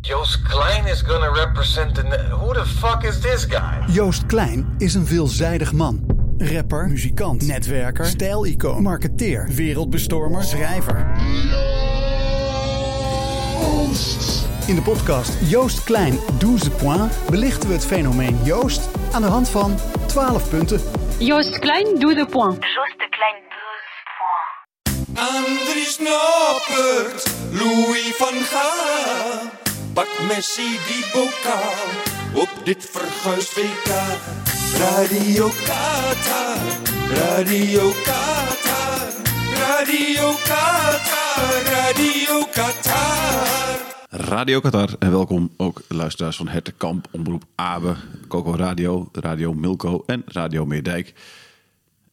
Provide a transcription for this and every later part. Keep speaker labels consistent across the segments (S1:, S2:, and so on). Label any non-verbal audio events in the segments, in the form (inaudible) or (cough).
S1: Joost Klein is gonna represent the. Who the fuck is this guy?
S2: Joost Klein is een veelzijdig man. Rapper, muzikant, netwerker, stijlicoon, marketeer, wereldbestormer, schrijver. In de podcast Joost Klein, 12 points, belichten we het fenomeen Joost aan de hand van 12 punten.
S3: Joost Klein, doe de point.
S4: Joost Klein 12 points.
S5: Andries Noppert, Louis van Gaal. Pak Messi die bokaal op dit verguisd WK. Radio Qatar, Radio Qatar, Radio Qatar, Radio Qatar.
S6: Radio Qatar en welkom ook luisteraars van Hertenkamp, Omroep Abe, Coco Radio, Radio Milko en Radio Meerdijk.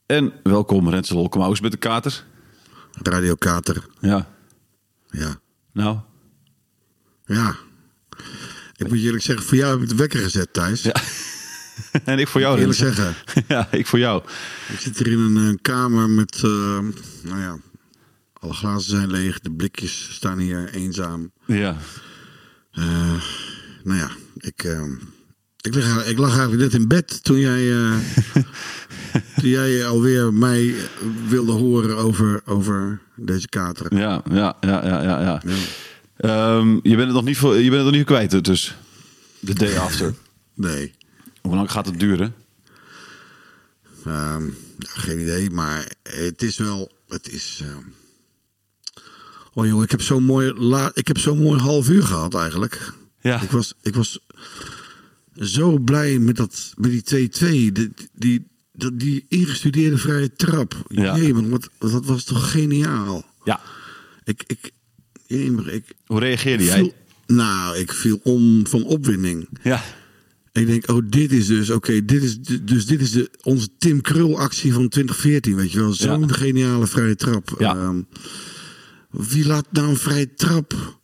S6: En welkom Rensel Holkemaus met de kater.
S7: Radio Kater.
S6: Ja,
S7: Ja.
S6: nou, (laughs)
S7: Ja. Ik moet je eerlijk zeggen, voor jou heb ik de wekker gezet, Thijs.
S6: en ik voor jou
S7: Eerlijk
S6: Renze.
S7: zeggen.
S6: (laughs) ja, ik voor jou.
S7: Ik zit hier in een eh, kamer met, eh, nou ja, alle glazen zijn leeg. De blikjes staan hier eenzaam.
S6: Ja,
S7: Eh, nou ja, ik, eh, ik, lig, ik lag eigenlijk net in bed toen jij, eh, toen jij alweer mij wilde horen over, over deze kater.
S6: ja, ja, ja, ja, ja. ja. Ehm, je, bent het nog niet, voor- je bent het nog niet kwijt dus, de day after.
S7: Nee.
S6: (laughs) Hoe lang gaat het duren?
S7: Ehm, ja, geen idee, maar het is wel. Het is. ehm, Oh joh, ik heb zo'n mooi, la... ik heb zo'n mooi half uur gehad eigenlijk.
S6: Ja.
S7: Ik was, ik was zo blij met, dat, met die 2-2. Die, die, dat- die ingestudeerde vrije trap.
S6: Ja.
S7: Jemig, wat, dat was toch geniaal.
S6: Ja,
S7: Ik, ik, jemig, ik
S6: hoe reageerde jij?
S7: viel, nou, ik viel om van opwinding.
S6: Ja,
S7: En ik denk, oh, dit is dus, oké, dit is de- dus dit is de, onze Tim Krul actie van 2014, weet je wel. Zo'n
S6: Ja.
S7: geniale vrije trap.
S6: Ja.
S7: Ehm, wie laat nou een vrije trap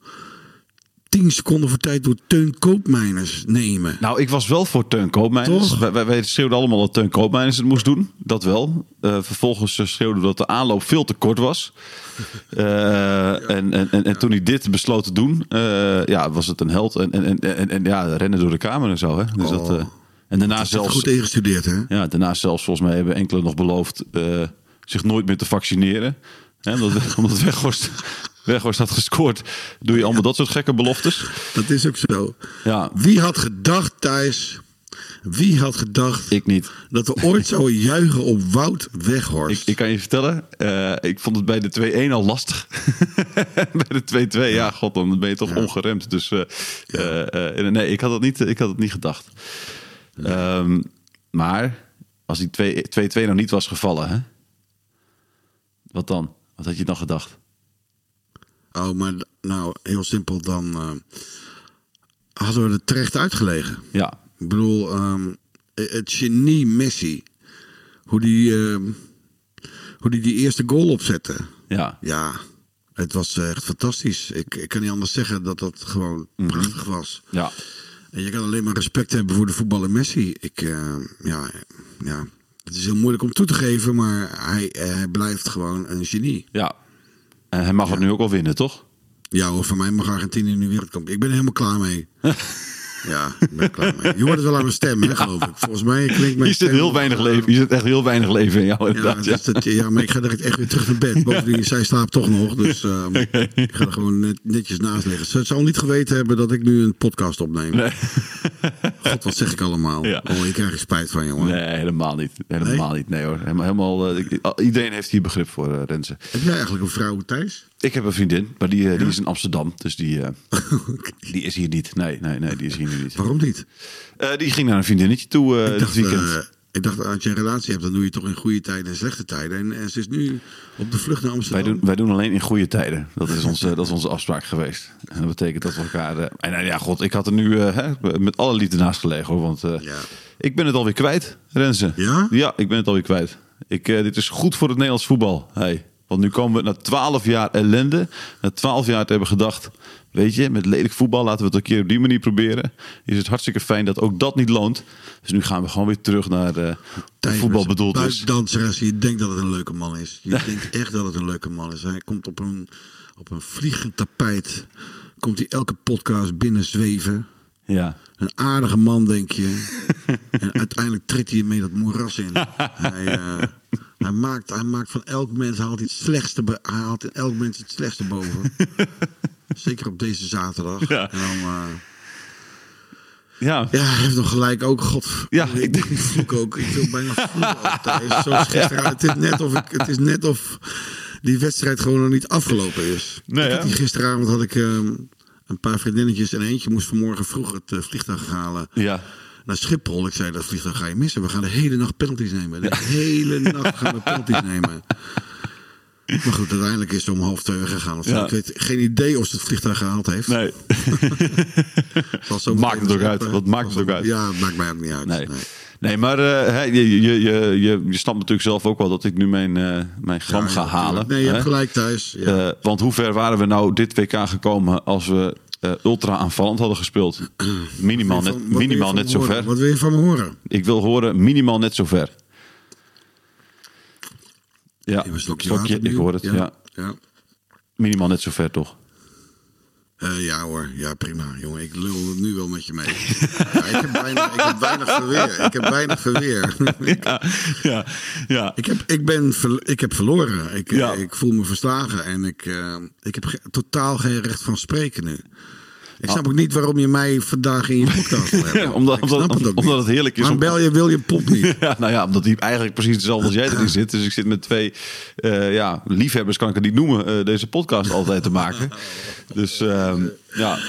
S7: 10 seconden voor tijd door Teun Koopmijners nemen?
S6: Nou, ik was wel voor Teun Koopmeiners.
S7: Toch?
S6: Wij, wij, wij schreeuwden allemaal dat Teun Koopmeiners het moest doen. Dat wel. Eh, vervolgens eh, schreeuwden we dat de aanloop veel te kort
S7: (laughs)
S6: was. Eh, en, en, en, en toen hij dit besloot te doen, eh, ja, was het een held. En, en, en, en, en ja, rennen door de kamer en zo. Hè? Dus dat, eh, en daarna
S7: Oh. Dat is
S6: zelfs,
S7: goed ingestudeerd, hè?
S6: ja, daarna zelfs, volgens mij, hebben enkele nog beloofd eh, zich nooit meer te vaccineren. Hè, omdat, (laughs) omdat Weghorst, Weghorst had gescoord, doe je allemaal dat soort gekke beloftes.
S7: Dat is ook zo.
S6: Ja.
S7: Wie had gedacht, Thijs, wie had gedacht
S6: Ik niet.
S7: dat we
S6: (laughs)
S7: ooit zouden juichen op Wout
S6: Ik,
S7: Weghorst?
S6: ik kan je vertellen, eh, ik vond het bij de 2-1 al lastig. (laughs) bij de 2-2, ja. god, dan ben je toch ongeremd. Dus eh, eh, eh, nee, ik had het niet, ik had het niet gedacht. Ehm, maar als die 2-2 nog nou niet was gevallen, hè? wat dan? Wat had je dan gedacht?
S7: Oh, maar nou, heel simpel, dan eh, hadden we het terecht uitgelegen.
S6: Ja,
S7: Ik bedoel, ehm, het genie Messi. Hoe die, ehm, hoe die, die eerste goal opzette.
S6: ja,
S7: Ja, het was eh, echt fantastisch. Ik, ik kan niet anders zeggen dat dat gewoon prachtig was.
S6: ja.
S7: En je kan alleen maar respect hebben voor de voetballer Messi. Ik, ehm, ja, ja, het is heel moeilijk om toe te geven, maar hij, eh, hij blijft gewoon een genie.
S6: ja. En hij mag het nu ook al winnen, toch?
S7: Ja hoor, voor mij mag Argentinië nu wereldkampioen. Ik ben er helemaal klaar
S6: (laughs)
S7: mee. ja, ik ben er klaar mee. Je hoort het wel aan mijn stem, hè, geloof ik. Volgens mij klinkt mijn
S6: Hier zit
S7: stem... eh,
S6: heel weinig leven, hier zit echt heel weinig leven in jou
S7: Ja,
S6: inderdaad. Ja,
S7: dus dat- ja, maar ik ga direct echt weer terug naar
S6: (laughs)
S7: bed. Bovendien, zij slaapt toch nog. Dus ehm, ik ga er gewoon net- netjes naast liggen. Ze zou niet geweten hebben dat ik nu een podcast opneem. God, wat zeg ik allemaal.
S6: Ja.
S7: Oh, ik krijg er spijt van, jongen.
S6: Nee, helemaal niet. Helemaal niet, nee hoor. Helemaal, helemaal, eh, ik- iedereen heeft hier begrip voor, eh Renze.
S7: Heb jij eigenlijk een vrouw (laughs) thuis?
S6: Ik heb een vriendin, maar die, eh, die is in Amsterdam. Dus die, eh, die is hier niet. Nee, nee, nee, die is hier nu niet.
S7: Waarom niet?
S6: Eh, die ging naar een vriendinnetje toe eh
S7: Oh. Ik
S6: dit
S7: dacht,
S6: weekend.
S7: eh, Ik dacht, als je een relatie hebt, dan doe je toch in goede tijden en slechte tijden. En, en ze is nu op de vlucht naar
S6: Wij
S7: Amsterdam.
S6: doen, wij doen alleen in goede tijden. Dat is onze, dat is onze afspraak geweest. En dat betekent dat we elkaar. eh, en nou ja, god, ik had er nu eh, hè, met alle liefde naast gelegen hoor. Want eh,
S7: Ja.
S6: ik ben het alweer kwijt, Renze.
S7: Ja?
S6: Ja, ik ben het alweer kwijt. Ik, eh, dit is goed voor het Nederlands voetbal. Hey. Want nu komen we na twaalf jaar ellende. Na twaalf jaar te hebben gedacht. Weet je, met lelijk voetbal laten we het een keer op die manier proberen. Is het hartstikke fijn dat ook dat niet loont. Dus nu gaan we gewoon weer terug naar eh, hoe
S7: Tijvers,
S6: voetbal bedoeld
S7: Nou,
S6: is.
S7: buikdanseres, je denkt dat het een leuke man is. Je (laughs) denkt echt dat het een leuke man is. Hij komt op een, op een vliegend tapijt. Komt hij elke podcast binnen zweven.
S6: Ja.
S7: Een aardige man, denk
S6: (laughs)
S7: je. en uiteindelijk treedt hij mee dat moeras in. hij, eh, hij, maakt, hij maakt van elk mens haalt hij het slechtste, be- hij haalt in elk mens het slechtste
S6: (laughs)
S7: boven. Zeker op deze zaterdag.
S6: Ja.
S7: En dan, eh,
S6: Ja.
S7: ja, hij heeft nog gelijk ook. God,
S6: Ja,
S7: ik,
S6: ik denk-
S7: vloek ook. Ik wil bijna
S6: (laughs)
S7: vloeken. ook thuis. Zo gisteren. Het is net of ik, het is net of die wedstrijd gewoon nog niet afgelopen is.
S6: Nee,
S7: ik had
S6: hè?
S7: die gisteravond had ik ehm, een paar vriendinnetjes en eentje moest vanmorgen vroeg het eh, vliegtuig halen
S6: Ja.
S7: naar Schiphol. Ik zei, dat vliegtuig ga je missen. We gaan de hele nacht penalties nemen. De
S6: (laughs)
S7: hele nacht gaan we penalties nemen. Maar goed, uiteindelijk is ze om half twee gegaan. Of zo.
S6: Ja.
S7: Ik weet geen idee of ze het vliegtuig gehaald heeft.
S6: Nee.
S7: (laughs) Was zo
S6: Maakt het
S7: meteen
S6: ook uit.
S7: scheppen.
S6: Wat maakt het
S7: Was
S6: ook uit?
S7: Ja, het maakt mij ook niet uit.
S6: Nee.
S7: Nee.
S6: Nee, maar eh, hè, je, je, je, je, je snapt natuurlijk zelf ook wel dat ik nu mijn, eh, mijn gram
S7: Ja,
S6: ga
S7: ja,
S6: halen.
S7: tuurlijk. Nee, je hebt
S6: hè?
S7: gelijk thuis. Ja.
S6: Eh, want hoe ver waren we nou dit WK gekomen als we eh, ultra aanvallend hadden gespeeld?
S7: (clears throat)
S6: Minimaal
S7: Wat
S6: net,
S7: wil je
S6: minimaal
S7: van
S6: net
S7: me
S6: zo
S7: horen?
S6: ver.
S7: Wat wil je van me horen?
S6: Ik wil horen, minimaal net zo ver. Ja,
S7: Even een slokje
S6: slokje,
S7: water
S6: ik
S7: nu.
S6: hoor het. Ja.
S7: Ja, ja.
S6: Minimaal net zo ver toch?
S7: Eh, ja hoor, ja prima. Jongen, ik lul het nu wel met
S6: (laughs)
S7: je mee. Ja, ik, heb weinig, ik heb weinig verweer. Ik heb weinig verweer.
S6: (laughs) ja, ja, ja.
S7: Ik heb, ik ben ver- ik heb verloren. Ik, eh,
S6: Ja.
S7: ik voel me verslagen en ik, eh, ik heb ge- totaal geen recht van spreken nu. Ik snap ook niet waarom je mij vandaag in je
S6: (laughs)
S7: podcast wil hebben.
S6: Ah. Omdat-
S7: ik
S6: omdat-
S7: snap het ook
S6: omdat
S7: niet.
S6: het heerlijk is
S7: Waarom
S6: om-
S7: bel je William Pomp
S6: (laughs)
S7: niet?
S6: Ja, nou ja, omdat hij eigenlijk precies hetzelfde als jij erin zit. Dus ik zit met twee eh, ja, liefhebbers, kan ik het niet noemen, eh, deze podcast altijd te maken. Dus ehm, ja.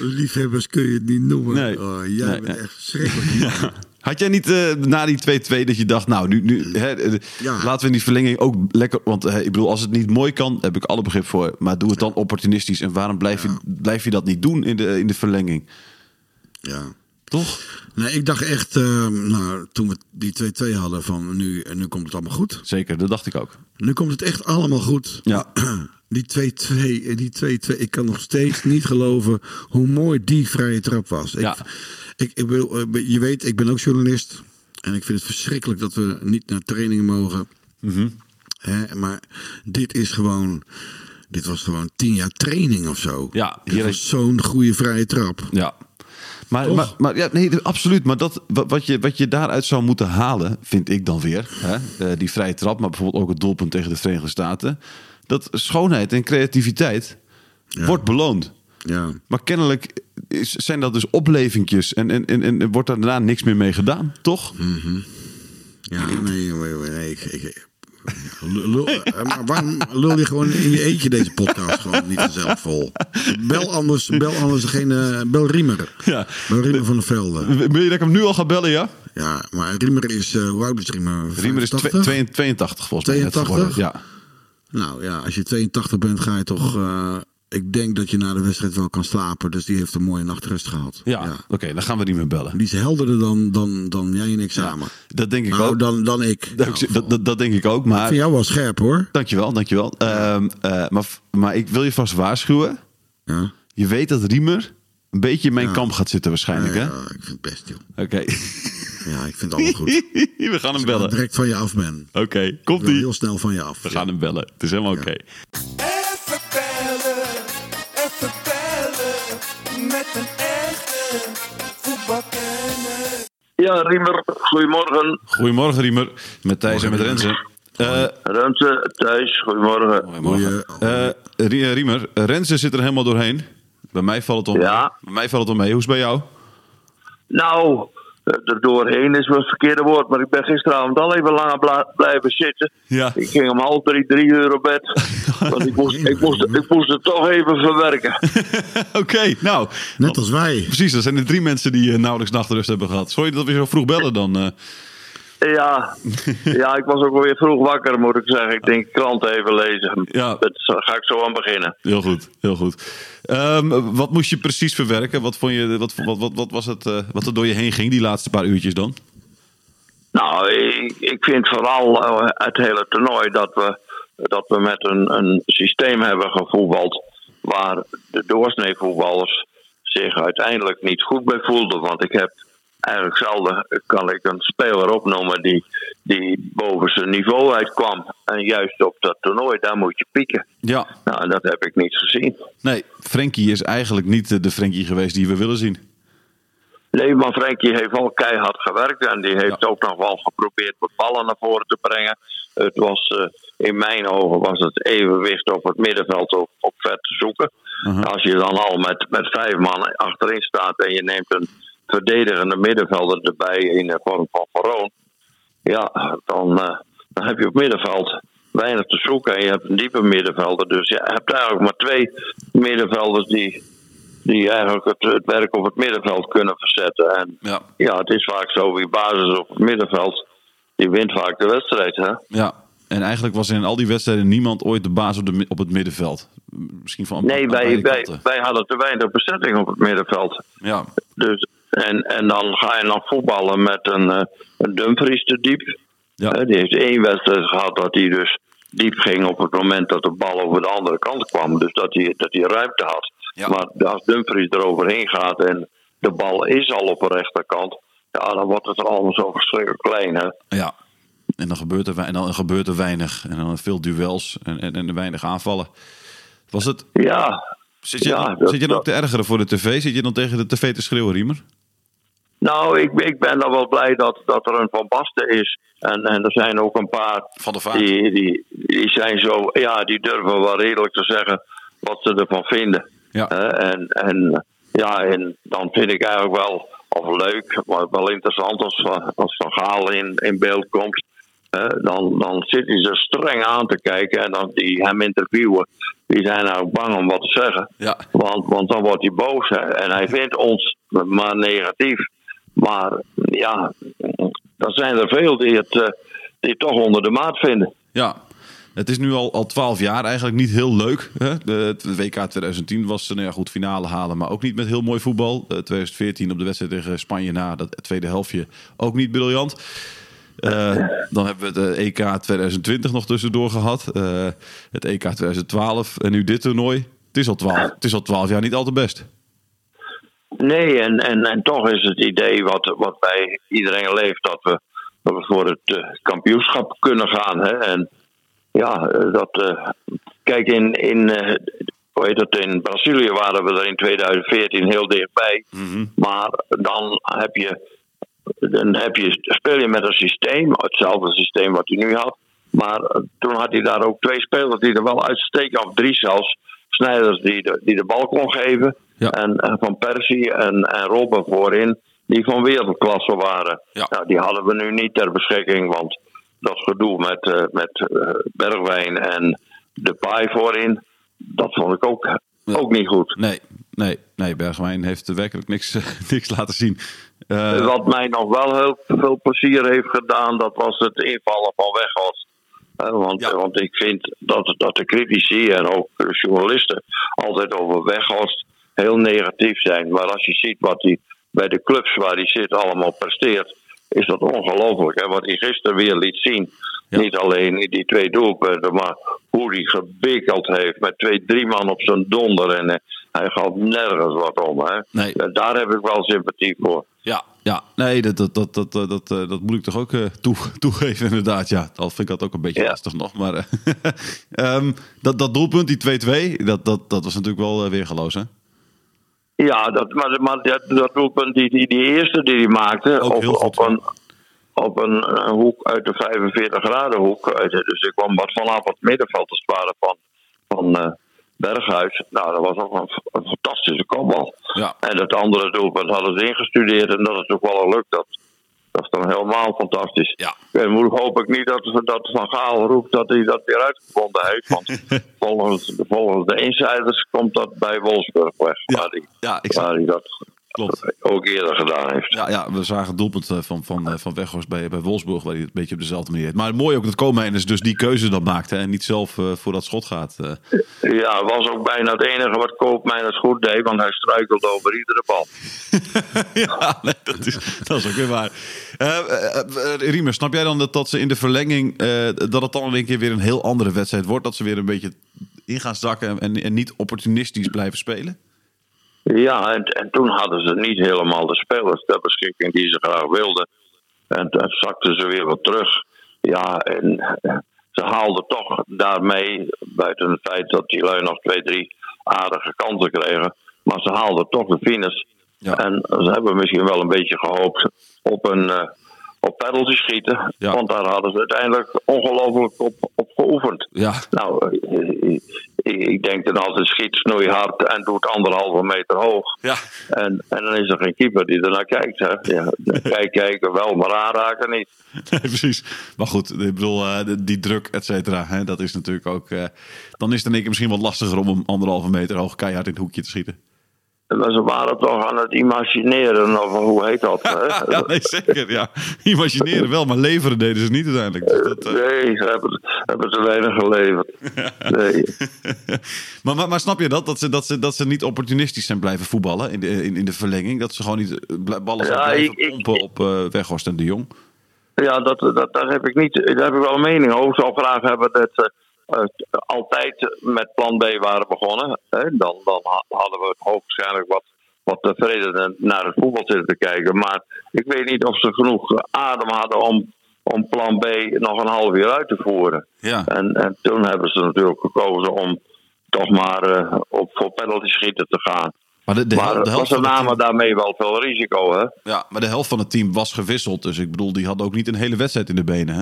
S7: Liefhebbers kun je het niet noemen.
S6: Nee.
S7: Oh, jij
S6: Nee,
S7: bent
S6: nee.
S7: echt
S6: (laughs)
S7: verschrikkelijk. Ja.
S6: Had jij niet eh, na die 2-2 dat je dacht, nou, nu, nu hè, eh,
S7: Ja.
S6: laten we in die verlenging ook lekker... Want eh, ik bedoel, als het niet mooi kan, heb ik alle begrip voor. Maar doe het dan opportunistisch. En waarom blijf, je, blijf je dat niet doen in de, in de verlenging? Toch?
S7: Nee, ik dacht echt, eh, nou, toen we die 2-2 hadden van nu, nu komt het allemaal goed.
S6: Zeker, dat dacht ik ook.
S7: Nu komt het echt allemaal goed.
S6: Ja.
S7: (clears throat) Die 2-2, eh, die 2-2. Ik kan nog steeds niet geloven hoe mooi die vrije trap was. Ik,
S6: Ja.
S7: ik, ik wil, eh, je weet, ik ben ook journalist. En ik vind het verschrikkelijk dat we niet naar trainingen mogen.
S6: Mhm.
S7: Hè, maar dit is gewoon... Dit was gewoon tien jaar training of zo.
S6: Ja,
S7: Dit
S6: hier-
S7: was zo'n goede vrije trap.
S6: Ja. Maar,
S7: Toch?
S6: maar, maar ja, nee, absoluut. Maar dat, wa- wat, je, wat je daaruit zou moeten halen, vind ik dan weer. Hè? eh, die vrije trap, maar bijvoorbeeld ook het doelpunt tegen de Verenigde Staten. Dat schoonheid en creativiteit wordt beloond.
S7: Ja.
S6: Maar kennelijk is, zijn dat dus oplevingjes en, en, en, en wordt daar daarna niks meer mee gedaan, toch?
S7: Hm. Ja, nee, nee, nee, ik, ik- ik- lul- lul- eh, maar waarom lul je gewoon in je eentje deze podcast gewoon niet zelf vol? Bel anders, bel anders degene, bel Riemer.
S6: Ja.
S7: Bel Riemer van de Velde.
S6: Wil je dat ik hem nu al ga bellen, ja?
S7: Ja, maar Riemer is, eh hoe oud is Riemer?
S6: Riemer is
S7: 85?
S6: 82, 82 volgens mij. net
S7: 82?
S6: geworden. Ja.
S7: Nou ja, als je 82 bent ga je toch, eh, ik denk dat je na de wedstrijd wel kan slapen. Dus die heeft een mooie nachtrust gehad.
S6: Ja, oké, dan gaan we die meer bellen.
S7: Die is helderder dan, dan, dan jij en ik samen.
S6: Dat denk ik
S7: Nou,
S6: ook.
S7: dan, dan ik.
S6: Dat- dat, dat, dat denk ik ook, maar...
S7: Van jou wel scherp hoor.
S6: Dankjewel, dankjewel. Ehm eh maar, maar ik wil je vast waarschuwen.
S7: Ja.
S6: Je weet dat Riemer een beetje in mijn
S7: Ja.
S6: kamp gaat zitten waarschijnlijk, hè?
S7: Ja, ik vind het best joh.
S6: Oké.
S7: Ja, ik vind het allemaal goed.
S6: (laughs) We gaan hem
S7: Ik wil
S6: bellen. Oké,
S7: Direct van je af ben. Ik
S6: komt
S7: wil
S6: ie.
S7: heel snel van je af.
S6: We gaan hem bellen. Het is helemaal oké.
S5: Even bellen, even bellen met een echte voetbalkenner.
S8: Ja, Riemer, goedemorgen.
S6: Goedemorgen, Riemer. Met Thijs en met Renze. Eh,
S8: Renze, Thijs, goedemorgen.
S6: goedemorgen. Eh, Rie- Riemer, Renze zit er helemaal doorheen. Bij mij valt het om.
S8: Ja.
S6: Bij mij valt het om mee. Hoe is het bij jou?
S8: Nou, eh, er doorheen is wel het verkeerde woord, maar ik ben gisteravond al even langer bla- blijven zitten.
S6: Ja.
S8: Ik ging om half drie, drie uur op bed, want ik moest, ik, moest, ik moest het toch even verwerken.
S6: (laughs) oké, nou.
S7: Net als wij.
S6: Precies, dat zijn de drie mensen die eh, nauwelijks nachtrust hebben gehad. Sorry dat we zo vroeg bellen dan. eh. (laughs)
S8: Ja. ja, ik was ook alweer vroeg wakker, moet ik zeggen. Ik denk, krant even lezen.
S6: Ja.
S8: Dat ga ik zo aan beginnen.
S6: Heel goed, heel goed. Ehm, wat moest je precies verwerken? Wat, vond je, wat, wat, wat, wat was het eh, wat er door je heen ging die laatste paar uurtjes dan?
S8: Nou, ik, ik vind vooral eh, het hele toernooi dat we, dat we met een, een systeem hebben gevoetbald. waar de doorsneevoetballers zich uiteindelijk niet goed bij voelden. Want ik heb eigenlijk zelden kan ik een speler opnoemen die, die boven zijn niveau uitkwam. En juist op dat toernooi, daar moet je pieken.
S6: Ja.
S8: Nou, dat heb ik niet gezien.
S6: Nee, Frenkie is eigenlijk niet eh, de Frenkie geweest die we willen zien.
S8: Nee, maar Frenkie heeft wel keihard gewerkt en die heeft ook nog wel geprobeerd wat ballen naar voren te brengen. Het was, eh, in mijn ogen was het evenwicht op het middenveld op, op vet te zoeken. Als je dan al met, met vijf man achterin staat en je neemt een verdedigende middenvelder erbij in de vorm van Veroon. Ja, dan, eh, dan heb je op middenveld weinig te zoeken en je hebt een diepe middenvelder. Dus je hebt eigenlijk maar twee middenvelders die, die eigenlijk het, het werk op het middenveld kunnen verzetten. En
S6: Ja.
S8: ja, het is vaak zo, wie basis op het middenveld, die wint vaak de wedstrijd. Hè?
S6: Ja. En eigenlijk was in al die wedstrijden niemand ooit de baas op, de, mi- op het middenveld. Misschien van
S8: Nee,
S6: aan
S8: wij,
S6: beide
S8: wij,
S6: kanten.
S8: wij hadden te weinig bezetting op het middenveld.
S6: Ja.
S8: Dus, en, en dan ga je nog voetballen met een, eh, een Dumfries te diep.
S6: Ja.
S8: Hè, die heeft één wedstrijd gehad dat hij dus diep ging op het moment dat de bal over de andere kant kwam. Dus dat hij, dat hij ruimte had.
S6: Ja.
S8: Maar als Dumfries eroverheen gaat en de bal is al op de rechterkant, ja, dan wordt het er allemaal zo verschrikkelijk klein. Hè?
S6: ja. En dan gebeurt er, wei- en dan gebeurt er weinig. En dan veel duels en, en, en weinig aanvallen. Was het,
S8: Ja.
S6: zit je,
S8: Ja, dat-
S6: zit je dan ook
S8: dat-
S6: te ergeren voor de tv? Zit je dan tegen de tv te schreeuwen, Riemer?
S8: Nou, ik, ik ben dan wel blij dat, dat er een Van Basten is. En, en er zijn ook een paar
S6: Van der Vaart.
S8: die, die, die zijn zo, ja, die durven wel redelijk te zeggen wat ze ervan vinden.
S6: Ja.
S8: Hè, en, en ja, en dan vind ik eigenlijk wel, of leuk, maar wel interessant als, Van- als Van Gaal in, in beeld komt. hè, dan, dan zit hij ze streng aan te kijken en dan die hem interviewen, die zijn nou bang om wat te zeggen.
S6: Ja.
S8: Want, want dan wordt hij boos hè. en hij vindt ons maar negatief. Maar ja, dan zijn er veel die het, eh, die het toch onder de maat vinden.
S6: Ja, het is nu al, al 12 jaar eigenlijk niet heel leuk. Hè? De, het WK 2010 was eh, nou ja, goed finale halen, maar ook niet met heel mooi voetbal. Eh, 2014 op de wedstrijd tegen Spanje na dat tweede helftje ook niet briljant. Eh, dan hebben we het eh, EK 2020 nog tussendoor gehad. Eh, het EK 2012 en nu dit toernooi. Het is al 12, het is al 12 jaar niet al te best.
S8: Nee, en, en, en toch is het idee wat, wat bij iedereen leeft dat we, dat we voor het eh, kampioenschap kunnen gaan. Hè? En ja, eh, dat. eh, kijk, in, in, eh, hoe heet het, in Brazilië waren we er in 2014 heel dichtbij. Maar dan heb je. Dan heb je, speel je met een systeem, hetzelfde systeem wat hij nu had. Maar eh, toen had hij daar ook twee spelers die er wel uitsteken, of drie zelfs. Snijders die de, die de bal kon geven.
S6: Ja.
S8: En, en Van Persie en, en Robben voorin, die van wereldklasse waren.
S6: Ja.
S8: Nou, die hadden we nu niet ter beschikking, want dat gedoe met, eh, met eh, Bergwijn en de paai voorin, dat vond ik ook, ook niet goed.
S6: Nee, nee, nee. Bergwijn heeft werkelijk niks, (laughs) niks laten zien. Eh,
S8: Wat mij nog wel heel veel plezier heeft gedaan, dat was het invallen van Weghorst. Eh, Want,
S6: Ja.
S8: want ik vind dat, dat de critici en ook de journalisten altijd over Weghorst heel negatief zijn. Maar als je ziet wat hij bij de clubs waar hij zit allemaal presteert, is dat ongelooflijk. En wat hij gisteren weer liet zien,
S6: Ja.
S8: niet alleen die twee doelpunten, maar hoe hij gebikkeld heeft met twee, drie man op zijn donder. En eh, hij gaf nergens wat om. Hè?
S6: Nee.
S8: Eh, Daar heb ik wel sympathie voor.
S6: Ja, ja. nee, dat, dat, dat, dat, dat, dat, eh, dat moet ik toch ook eh, toe, (laughs) toegeven, inderdaad. Ja, al vind ik dat ook een beetje
S8: Ja.
S6: lastig nog. Maar eh, (laughs) ehm, dat, dat doelpunt, die 2-2, dat, dat, dat was natuurlijk wel weer weergeloos, hè?
S8: Ja, dat, maar, maar dat, dat doelpunt, die, die, die eerste die hij maakte,
S6: Ook
S8: op,
S6: heel goed,
S8: op een, op een eh, hoek uit de 45 graden hoek. uit de- Dus ik kwam wat vanaf het middenveld te sparen van, van eh, Berghuis. Nou, dat was ook een, f- een fantastische kopbal.
S6: Ja.
S8: En dat andere doelpunt hadden ze ingestudeerd en dat is toevallig lukt. Dat, dat is dan helemaal fantastisch.
S6: Ja.
S8: En moet, hoop ik niet dat, dat Van Gaal roept dat hij dat weer uitgevonden heeft.
S6: (laughs)
S8: Want volgens, volgens de insiders komt dat bij Wolfsburg weg.
S6: Ja,
S8: waar hij,
S6: ja, ik zag-
S8: waar hij dat
S6: klopt.
S8: ook eerder gedaan heeft.
S6: Ja, ja, we zagen het doelpunt eh, van, van, eh, van Weghorst bij, bij Wolfsburg, waar hij het een beetje op dezelfde manier deed. Maar mooi ook dat Koolmeiners dus die keuze dan maakte en niet zelf eh, voor dat schot gaat. eh.
S8: Ja, was ook bijna het enige wat Koopmijn het goed deed, want hij struikelde over iedere bal.
S6: ja, nee, dat, is, dat is ook weer waar. Eh, eh, eh, Riemer, snap jij dan dat, dat ze in de verlenging, eh, dat het dan in één keer weer een heel andere wedstrijd wordt? Dat ze weer een beetje in gaan zakken en, en niet opportunistisch blijven spelen?
S8: Ja, en, en toen hadden ze niet helemaal de spelers ter beschikking die ze graag wilden. En toen zakten ze weer wat terug. Ja, en eh, ze haalden toch daarmee, buiten het feit dat die lui nog twee, drie aardige kanten kregen, maar ze haalden toch de finish.
S6: Ja.
S8: En ze hebben misschien wel een beetje gehoopt op een eh op penalty schieten,
S6: Ja.
S8: want daar hadden ze uiteindelijk ongelooflijk op, op geoefend.
S6: Ja,
S8: Nou, eh, eh, ik, ik denk dan altijd schiet snoeihard en doet anderhalve meter hoog.
S6: ja. (laughs)
S8: En, en dan is er geen keeper die ernaar kijkt. Hè? Ja, kijk, kijken wel, maar aanraken niet.
S6: Nee, precies. Maar goed, ik bedoel, eh, de- die druk, et cetera, hè, dat is natuurlijk ook... eh, dan is het in één keer misschien wat lastiger om hem anderhalve meter hoog keihard in het hoekje te schieten.
S8: Maar ze waren toch aan het imagineren, of hoe heet dat? Hè?
S6: (laughs) ja, nee, zeker. Ja. Imagineren wel, maar leveren deden ze niet uiteindelijk. Dus dat, eh,
S8: Nee, ze hebben, hebben te weinig geleverd. Nee.
S6: (laughs) maar, maar, maar snap je dat? Dat ze, dat, ze, dat ze niet opportunistisch zijn blijven voetballen in de, in, in de verlenging. Dat ze gewoon niet eh, bl- ballen zijn
S8: Ja,
S6: blijven
S8: ik- ik-
S6: pompen op eh, Weghorst en de Jong.
S8: Ja, dat, dat, daar, heb ik niet, daar heb ik wel een mening over. Ik zou graag hebben dat ze eh, altijd met plan B waren begonnen. Hè? Dan, dan ha- hadden we hoogstwaarschijnlijk wat, wat tevreden naar het voetbal zitten te kijken. Maar ik weet niet of ze genoeg eh, adem hadden om, om plan B nog een half uur uit te voeren.
S6: Ja.
S8: En, en toen hebben ze natuurlijk gekozen om toch maar eh, op, voor penalty schieten te gaan.
S6: Maar de, de, hel-
S8: maar
S6: de helft
S8: ze
S6: van het team-
S8: namen daarmee wel veel risico, hè?
S6: ja, maar de helft van het team was gewisseld. Dus ik bedoel, die hadden ook niet een hele wedstrijd in de benen. Hè?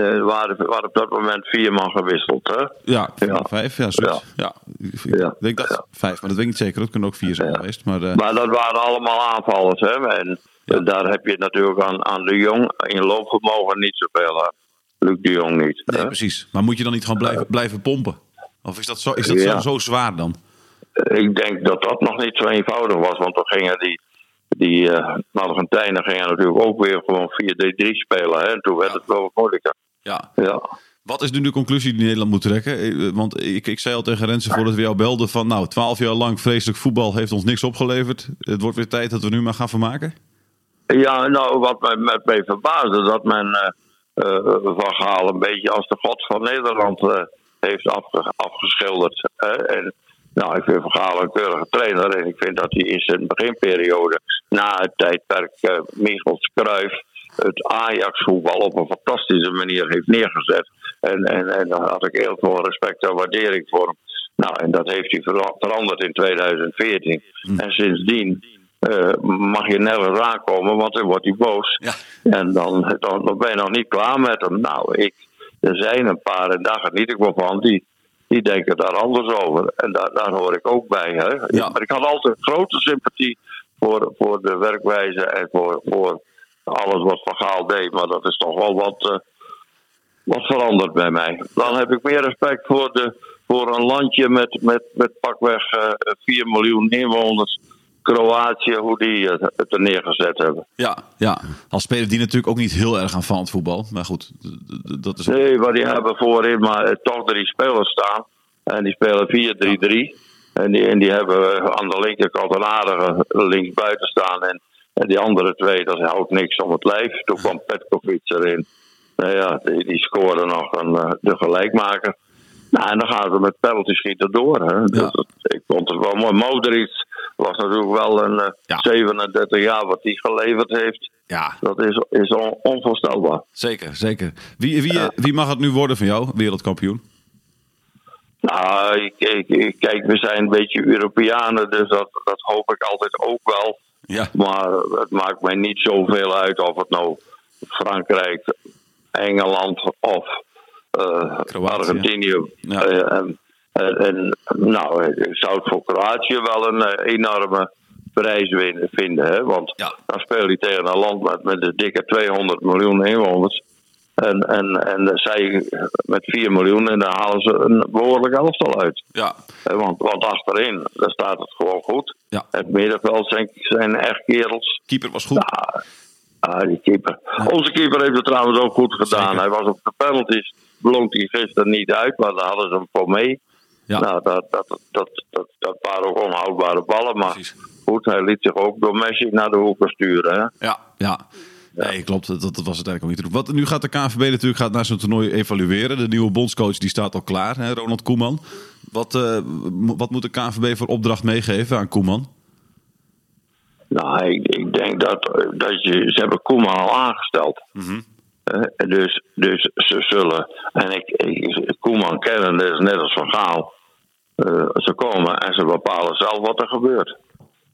S8: Eh, Er waren, er waren op dat moment vier man gewisseld, hè?
S6: Ja, vier,
S8: Ja.
S6: vijf. Ja, zoiets. Ja. Ik, ik
S8: Ja.
S6: denk dat
S8: Ja.
S6: vijf, maar dat weet ik niet zeker. Dat kunnen ook vier zijn
S8: Ja.
S6: geweest. Maar, eh,
S8: Maar dat waren allemaal aanvallers, hè? En
S6: Ja.
S8: eh, daar heb je natuurlijk aan, aan de Jong in loopvermogen niet zoveel aan. Luc de Jong niet.
S6: nee,
S8: hè.
S6: precies. Maar moet je dan niet gewoon blijven, blijven pompen? Of is dat, zo, is dat zo-
S8: eh, Ja.
S6: zo, zwaar dan?
S8: Ik denk dat dat nog niet zo eenvoudig was, want dan gingen die, die eh Argentijnen gingen natuurlijk ook weer gewoon 4-3-3 spelen, hè? En toen werd het wel wat moeilijker.
S6: Ja.
S8: Ja.
S6: Wat is nu de conclusie die Nederland moet trekken? Eh, Want ik, ik zei al tegen Rensen voordat we jou belden van... nou, twaalf jaar lang vreselijk voetbal heeft ons niks opgeleverd. Het wordt weer tijd dat we nu maar gaan vermaken.
S8: Ja, nou, wat mij, met mij verbaasde, dat men eh, eh, Van Gaal een beetje als de god van Nederland eh, heeft afge- afgeschilderd. hè. en, nou, ik vind Van Gaal een keurige trainer en ik vind dat hij in zijn beginperiode, na het tijdperk eh Michels Kruijf, het Ajax-voetbal op een fantastische manier heeft neergezet. En, en, en daar had ik heel veel respect en waardering voor hem. Nou, en dat heeft hij vera- veranderd in 2014.
S6: Mm.
S8: En sindsdien eh, mag je nergens aankomen, want dan wordt hij boos.
S6: Ja.
S8: En dan, dan, dan ben je nog niet klaar met hem. Nou, ik, er zijn een paar, en daar geniet ik wel van, die, die denken daar anders over. En daar, daar hoor ik ook bij. Hè?
S6: Ja.
S8: Maar ik had altijd grote sympathie voor, voor de werkwijze en voor, voor alles wat Van Gaal deed. Maar dat is toch wel wat... eh, wat verandert bij mij. Dan heb ik meer respect voor, de, voor een landje met, met, met pakweg eh 4 miljoen inwoners. Kroatië, hoe die eh, het er neergezet hebben.
S6: Ja, ja. Als speler die natuurlijk ook niet heel erg aan van het voetbal. Maar goed, d- d- d- dat is...
S8: Nee, maar die hebben voorin maar eh, toch drie spelers staan. En die spelen 4-3-3. En die, en die hebben eh, aan de linkerkant een aardige linksbuiten staan. En, en die andere twee, dat houdt niks om het lijf. Toen kwam Petkovic erin. Nou ja, die, die scoorde nog een, eh, de gelijkmaker. Nou, en dan gaan ze met penalty schieten door. Hè. Dus dat- ik vond het wel mooi. Modric was natuurlijk wel een eh,
S6: Ja.
S8: 37 jaar wat hij geleverd heeft.
S6: Ja,
S8: Dat is, is on- onvoorstelbaar.
S6: zeker, zeker. Wie, wie, eh, wie mag het nu worden van jou, wereldkampioen?
S8: Nou, ik, ik, ik- kijk, we zijn een beetje Europeanen, dus dat, dat hoop ik altijd ook wel.
S6: Ja.
S8: Maar het maakt mij niet zoveel uit of het nou Frankrijk, Engeland of eh,
S6: Kroatië.
S8: Argentinië.
S6: Ja.
S8: Eh, en, en- en, nou, ik zou het voor Kroatië wel een eh, enorme prijs win- vinden. Hè? Want
S6: Ja.
S8: dan speel je tegen een land met, met een dikke 200 miljoen inwoners. En, en, en zij met 4 miljoen en daar halen ze een behoorlijk elftal uit.
S6: Ja,
S8: Eh, Want, want achterin, daar staat het gewoon goed.
S6: Ja.
S8: Het middenveld zijn, zijn echt kerels.
S6: keeper was goed.
S8: Ah, ah, die keeper. Onze keeper heeft het trouwens ook goed gedaan.
S6: Zeker.
S8: Hij was op de penalties, blonk hij gisteren niet uit, maar daar hadden ze hem voor mee.
S6: Ja.
S8: Nou, dat, dat, dat, dat, dat waren ook onhoudbare ballen, maar
S6: Precies.
S8: goed, hij liet zich ook door Messi naar de hoeken sturen. Hè?
S6: Ja, ja. Nee, klopt. Dat, dat was uiteindelijk ook niet te doen. Wat, nu gaat de KNVB natuurlijk gaat naar zijn toernooi evalueren. De nieuwe bondscoach die staat al klaar, hè, Ronald Koeman. Wat, eh, mo- wat moet de KNVB voor opdracht meegeven aan Koeman?
S8: Nou, ik, ik denk dat, dat je, ze hebben Koeman al aangesteld. Eh, dus, dus ze zullen, en ik, ik, Koeman kennen, dat is net als Van Gaal. Eh, ze komen en ze bepalen zelf wat er gebeurt.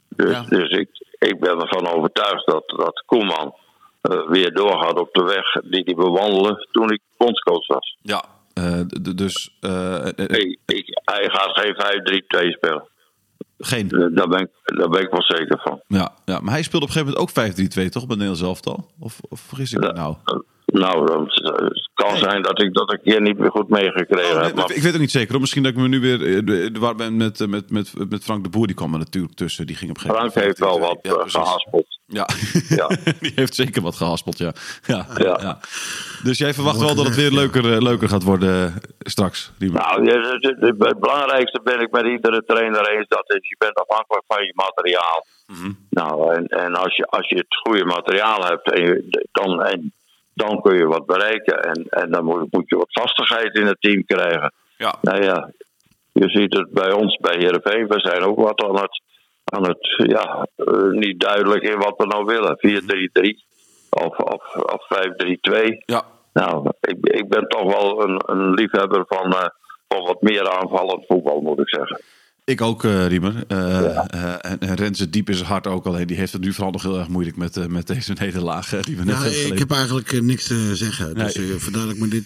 S8: Dus,
S6: Ja.
S8: dus ik, ik ben ervan overtuigd dat, dat Koeman eh, weer doorgaat op de weg die hij bewandelde toen ik bondscoach was.
S6: Ja. dus eh, eh, eh,
S8: Ik, ik, hij gaat geen 5-3-2 spelen.
S6: geen.
S8: Eh, Daar ben, ik, daar ben ik wel zeker van.
S6: Ja, ja, maar hij speelde op een gegeven moment ook 5-3-2 toch bij Nederlands elftal? Of, of vergis ik me nou?
S8: Eh, Nou, dat, het kan zijn dat ik dat een keer niet meer goed meegekregen
S6: Oh, nee,
S8: heb. Maar,
S6: ik weet het niet zeker. hoor. Misschien dat ik me nu weer eh, de- de war ben met, eh, met, met, met Frank de Boer. Die kwam er natuurlijk tussen. Die ging op een gegeven
S8: Frank heeft wel wat eh,
S6: moment 5-3-2. Ja, precies.
S8: gehaspeld.
S6: Ja.
S8: Ja.
S6: (laughs) die heeft zeker wat gehaspeld, ja. Ja, ja.
S8: Ja.
S6: Dus jij verwacht wel dat het weer leuker, eh, leuker gaat worden eh, straks. Die
S8: Nou, ja, het- het- het- het belangrijkste ben ik met iedere trainer eens. Dat is, je bent afhankelijk van je materiaal. Nou, en, en als, je, als je het goede materiaal hebt, en je- dan, en, dan kun je wat bereiken. En, en dan moet, moet je wat vastigheid in het team krijgen.
S6: ja.
S8: Nou ja, je ziet het bij ons, bij Heerenveen. We zijn ook wat aan het, aan het ja, eh, niet duidelijk in wat we nou willen. 4-3-3 of, of, of 5-3-2.
S6: ja.
S8: Nou, ik, ik ben toch wel een, een liefhebber van, eh, van wat meer aanvallend voetbal, moet ik zeggen.
S6: Ik ook, eh, Riemer. Eh, eh, en, en Renze diep is hard ook. Alleen die heeft het nu vooral nog heel erg moeilijk met, eh, met deze (laughs) nederlaag. eh, die we net
S7: Ja,
S6: hebben
S7: ik
S6: geleden.
S7: heb eigenlijk eh, niks te zeggen. Dus
S6: Nee.
S7: eh, vandaar dat ik
S6: (laughs)
S7: me dit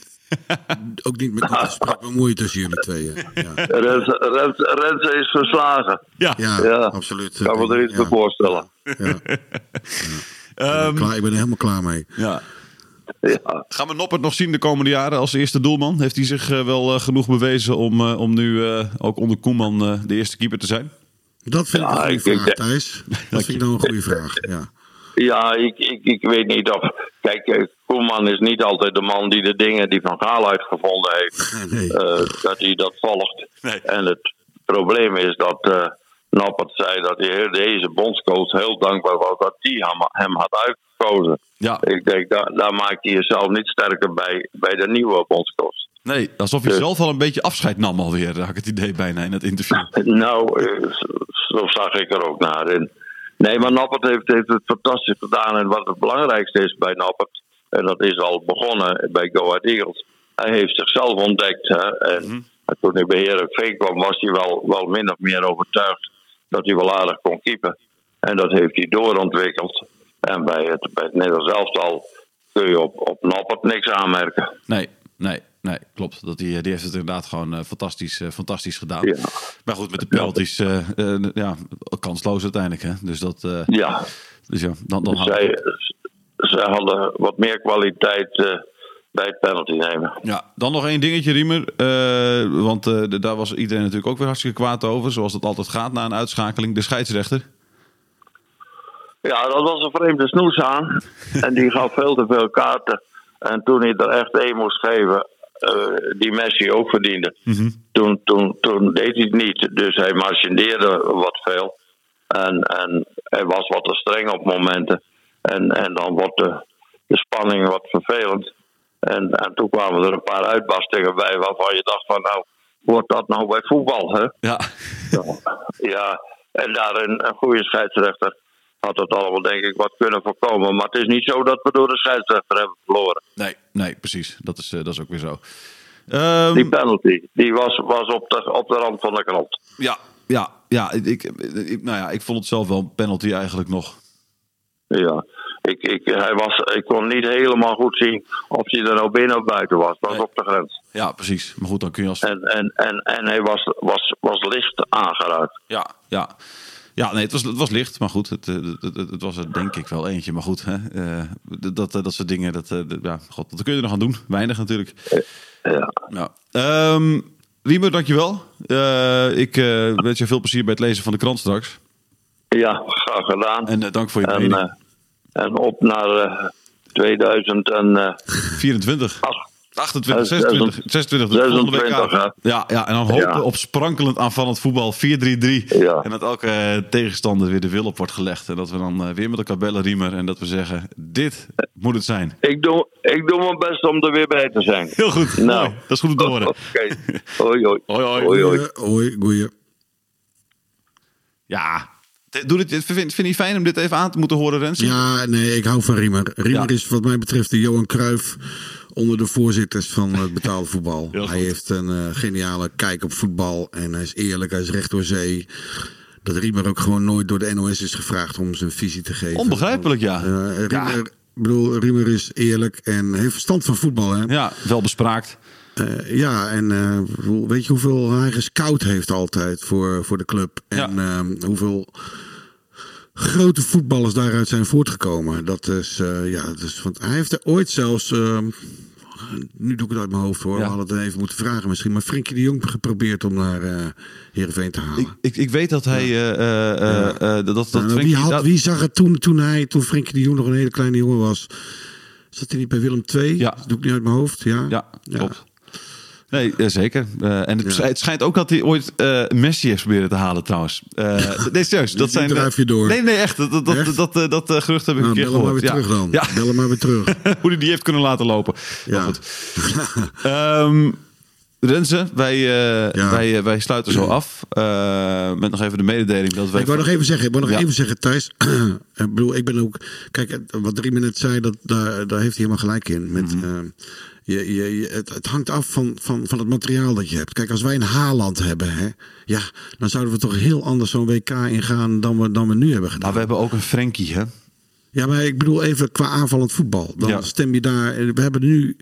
S7: ook niet met dit gesprek bemoei tussen jullie tweeën. Ja,
S8: Renze, Renze, Renze is verslagen.
S6: Ja.
S7: ja,
S8: Ja,
S7: absoluut.
S8: Kan me er iets
S7: Ja.
S8: bij voorstellen.
S6: Ehm,
S7: Klaar, ik ben er helemaal klaar mee.
S6: ja.
S8: Ja.
S6: Gaan we Noppert nog zien de komende jaren als eerste doelman? Heeft hij zich eh, wel eh, genoeg bewezen om, eh, om nu eh, ook onder Koeman eh, de eerste keeper te zijn?
S7: Dat vind ik
S8: Ja,
S7: een goede
S8: ik- ik
S7: vraag,
S8: denk-
S6: (laughs)
S7: Thijs. Dat vind ik nou een goede vraag. Ja.
S8: Ja, ik, ik, ik weet niet of. Kijk, eh, Koeman is niet altijd de man die de dingen die Van Gaal uitgevonden heeft,
S6: (laughs)
S7: Nee.
S8: eh, dat hij dat volgt.
S6: Ah, Nee.
S8: En het probleem is dat eh Nappert zei dat hij deze bondscoach heel dankbaar was dat die hem, hem had uitgekozen.
S6: Ja,
S8: Ik denk, daar, daar maak je jezelf niet sterker bij, bij de nieuwe bondscoach.
S6: nee, alsof hij zelf al een beetje afscheid nam alweer, had ik het idee bijna in dat interview.
S8: Nou, eh, zo- zo zag ik er ook naar in. Nee, maar Nappert heeft, heeft het fantastisch gedaan. En wat het belangrijkste is bij Nappert, en dat is al begonnen bij Go Ahead Eagles, hij heeft zichzelf ontdekt. Hè? En toen hij bij Heerenveen kwam, was hij wel, wel min of meer overtuigd dat hij wel aardig kon keepen. En dat heeft hij doorontwikkeld. En bij het, bij het Nederlands elftal kun je op, op Nappert niks aanmerken.
S6: Nee, nee, nee, klopt. Dat die, die heeft het inderdaad gewoon eh, fantastisch, eh, fantastisch gedaan.
S8: Ja.
S6: Maar goed, met de penalties, eh, eh, ja, kansloos uiteindelijk. Hè? Dus, dat, eh,
S8: Ja,
S6: dus ja, dan, dan houdt
S8: Zij, eh,
S6: het op.
S8: zij hadden wat meer kwaliteit eh, bij het penalty nemen.
S6: Ja, dan nog één dingetje, Riemer. Eh, want eh, d- daar was iedereen natuurlijk ook weer hartstikke kwaad over. Zoals dat altijd gaat na een uitschakeling. De scheidsrechter.
S8: Ja, dat was een vreemde snoes aan. En die gaf veel te veel kaarten. En toen hij er echt één moest geven, eh, die Messi ook verdiende, toen, toen, toen deed hij het niet. Dus hij marchandeerde wat veel. En, en hij was wat te streng op momenten. En, en dan wordt de, de spanning wat vervelend. En, en toen kwamen er een paar uitbarstingen bij waarvan je dacht van nou, wordt dat nou bij voetbal hè?
S6: Ja,
S8: Ja, en daarin een goede scheidsrechter had dat allemaal denk ik wat kunnen voorkomen. Maar het is niet zo dat we door de scheidsrechter hebben verloren.
S6: (laughs) nee, nee, precies. Dat is, eh, dat is ook weer zo. Ehm,
S8: Die penalty, die was, was op, de, op de rand van de knop.
S6: ja, ja, ja. Ik, ik, ik- nou ja, ik vond het zelf wel een penalty eigenlijk nog.
S8: Ja. Ik, ik, hij was, ik kon niet helemaal goed zien of hij er nou binnen of buiten was. Dat was
S6: Nee.
S8: op de grens.
S6: Ja, precies. Maar goed, dan kun je als...
S8: En, en, en, en hij was, was, was licht aangeraakt.
S6: Ja, ja. Ja, nee, het was, het was licht, maar goed, het, eh, het, het, het was er denk ik wel eentje. Maar goed, hè, eh, dat, dat, dat soort dingen, dat, eh, dat- ja, god, wat kun je er nog aan doen? Weinig natuurlijk.
S8: Ja.
S6: Ja. Ehm Riemer, dankjewel. Eh ik eh, wens je veel plezier bij het lezen van de krant straks.
S8: ja, graag gedaan.
S6: En eh, dank voor je
S8: En,
S6: mening.
S8: eh, en op naar eh, 2000 en... eh,
S6: 24.
S8: ach,
S6: 28,
S8: Eh,
S6: 26, 26, de volgende week
S8: 26,
S6: aan.
S8: hè?
S6: Ja, ja, en dan hopen
S8: Ja.
S6: op sprankelend aanvallend voetbal 4-3-3.
S8: Ja.
S6: En dat elke eh, tegenstander weer de wil op wordt gelegd. En dat we dan eh, weer met elkaar bellen, Riemer. En dat we zeggen, dit moet het zijn.
S8: ik, doe, ik doe mijn best om er weer bij te zijn.
S6: Heel goed.
S8: Nou.
S6: Mooi. Dat is goed om te horen.
S8: (laughs) Oké. Hoi, hoi.
S6: Hoi, hoi.
S8: Hoi, hoi.
S7: Eh, hoi, goeie.
S6: (laughs) Ja. Doe dit, vind, vind je het fijn om dit even aan te moeten horen, Rens?
S7: Ja, nee, ik hou van Riemer. Riemer
S6: Ja.
S7: is wat mij betreft de Johan Cruijff onder de voorzitters van
S6: (laughs)
S7: het betaalde voetbal.
S6: Heel
S7: hij
S6: goed.
S7: heeft een eh, geniale kijk op voetbal en hij is eerlijk, hij is recht door zee. Dat Riemer ook gewoon nooit door de NOS is gevraagd om zijn visie te geven.
S6: Onbegrijpelijk, ja.
S7: Eh, Riemer,
S6: Ja.
S7: ik bedoel, Riemer is eerlijk en heeft verstand van voetbal. Hè?
S6: Ja, wel bespraakt.
S7: Eh, ja, en eh, hoe- weet je hoeveel hij gescout heeft altijd voor, voor de club? En
S6: Ja.
S7: ehm, hoeveel grote voetballers daaruit zijn voortgekomen? Dat is, eh, ja, dat is, want hij heeft er ooit zelfs, ehm, nu doe ik het uit mijn hoofd hoor,
S6: Ja.
S7: we hadden het even moeten vragen misschien, maar Frenkie de Jong geprobeerd om naar eh Heerenveen te halen.
S6: Ik, ik, ik weet dat hij... eh, eh, eh, eh, dat, dat
S7: Nou,
S6: Frenkie-
S7: wie, had,
S6: dat-
S7: wie zag het toen, toen hij, toen Frenkie de Jong nog een hele kleine jongen was? Zat hij niet bij Willem II?
S6: Ja.
S7: Dat doe ik niet uit mijn hoofd, ja?
S6: Ja, klopt. Nee, eh, zeker. Eh, en het, schij- het schijnt ook dat hij ooit eh, Messi heeft proberen te halen trouwens. Eh nee,
S7: (laughs)
S6: serieus. Dat
S7: Die
S6: zijn, eh,
S7: drijf je door.
S6: Nee, nee, echt. Dat, dat, dat,
S7: Echt?
S6: dat, eh, dat, eh, gerucht heb ik
S7: Nou,
S6: een keer
S7: bel hem maar
S6: gehoord.
S7: weer terug dan.
S6: Ja.
S7: Bel
S6: (laughs)
S7: hem maar weer terug.
S6: Hoe hij die heeft kunnen laten lopen. Maar (laughs)
S7: Ja.
S6: goed. Ehm, Renze, wij, eh,
S7: Ja.
S6: wij, eh, wij sluiten zo af. Eh, met nog even de mededeling dat wij...
S7: Ik wou nog even zeggen, ik wou nog
S6: Ja.
S7: even zeggen, Thijs. (clears throat) ik bedoel, ik ben ook. Kijk, het- wat Riemen net zei, dat, daar, daar heeft hij helemaal gelijk in. Met, ehm, je, je, je- het, het hangt af van, van, van het materiaal dat je hebt. Kijk, als wij een Haaland hebben, hè, ja, dan zouden we toch heel anders zo'n WK ingaan dan we, dan we nu hebben gedaan.
S6: Nou, we hebben ook een Frenkie, hè?
S7: Ja, maar ik bedoel even qua aanvallend voetbal. Dan
S6: Ja.
S7: stem je daar. eh, We hebben nu.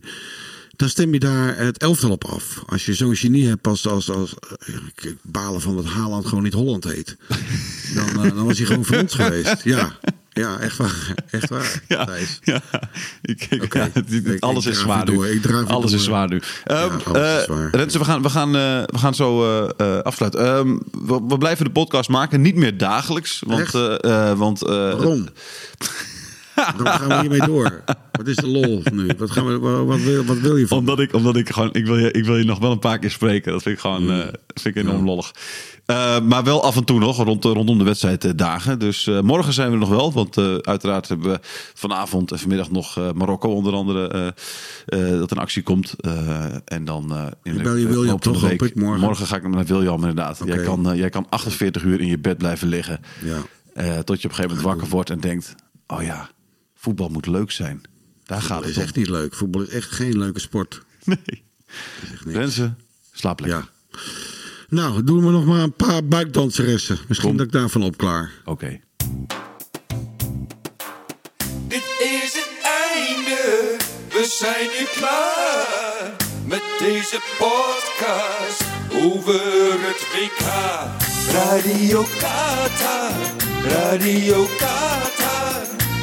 S7: Dan stem je daar het elftal op af. Als je zo'n genie hebt als. als, als eh, ik, ik balen van dat Haaland gewoon niet Holland heet.
S6: (laughs)
S7: Dan, eh, dan was hij gewoon van ons geweest. Ja, ja echt waar. Echt waar.
S6: Ja,
S7: Thijs.
S6: ja. Ik, ik-
S7: Oké.
S6: ja, het- het-
S7: Ik- ik
S6: alles
S7: draaf
S6: is zwaar
S7: het door,
S6: nu.
S7: ik draaf het
S6: alles is
S7: door.
S6: zwaar nu. Ehm,
S7: alles is
S6: eh,
S7: zwaar.
S6: Renze, we gaan, we gaan, eh, we gaan zo eh, eh, afsluiten. Ehm, we, we blijven de podcast maken, niet meer dagelijks. Want,
S7: Echt?
S6: eh, eh, want eh,
S7: Waarom? Waarom gaan we hiermee door? Wat is de lol nu? Wat, gaan we, wa- wat, wil, wat wil je van?
S6: omdat ik, omdat ik gewoon, ik wil, je, ik wil je nog wel een paar keer spreken. Dat vind ik gewoon,
S7: Mm.
S6: eh, vind ik enorm lollig. Eh, maar wel af en toe nog, rond, eh, rondom de wedstrijddagen. Dus eh, morgen zijn we er nog wel. Want eh, uiteraard hebben we vanavond en vanmiddag nog eh, Marokko onder andere. eh, eh, dat een actie komt. Eh, en dan eh, in
S7: Ik bel je William
S6: loop van de
S7: toch,
S6: week-
S7: hoop ik, morgen.
S6: ga ik naar William inderdaad. Jij,
S7: Oké.
S6: kan, eh, jij kan 48 uur in je bed blijven liggen.
S7: Ja.
S6: Eh, tot je op een gegeven moment wakker wordt en denkt... Oh ja, voetbal moet leuk zijn. Daar gaat
S7: Het
S6: het
S7: is
S6: om.
S7: echt niet leuk. Voetbal is echt geen leuke
S6: (laughs)
S7: sport.
S6: Nee. Mensen, slaap lekker.
S7: Ja. Nou, doen we nog maar een paar buikdanseressen. Misschien dat ik daarvan opklaar.
S6: Oké.
S5: Dit is het einde, we zijn nu klaar met deze podcast over het WK. Radio Qatar, Radio Qatar,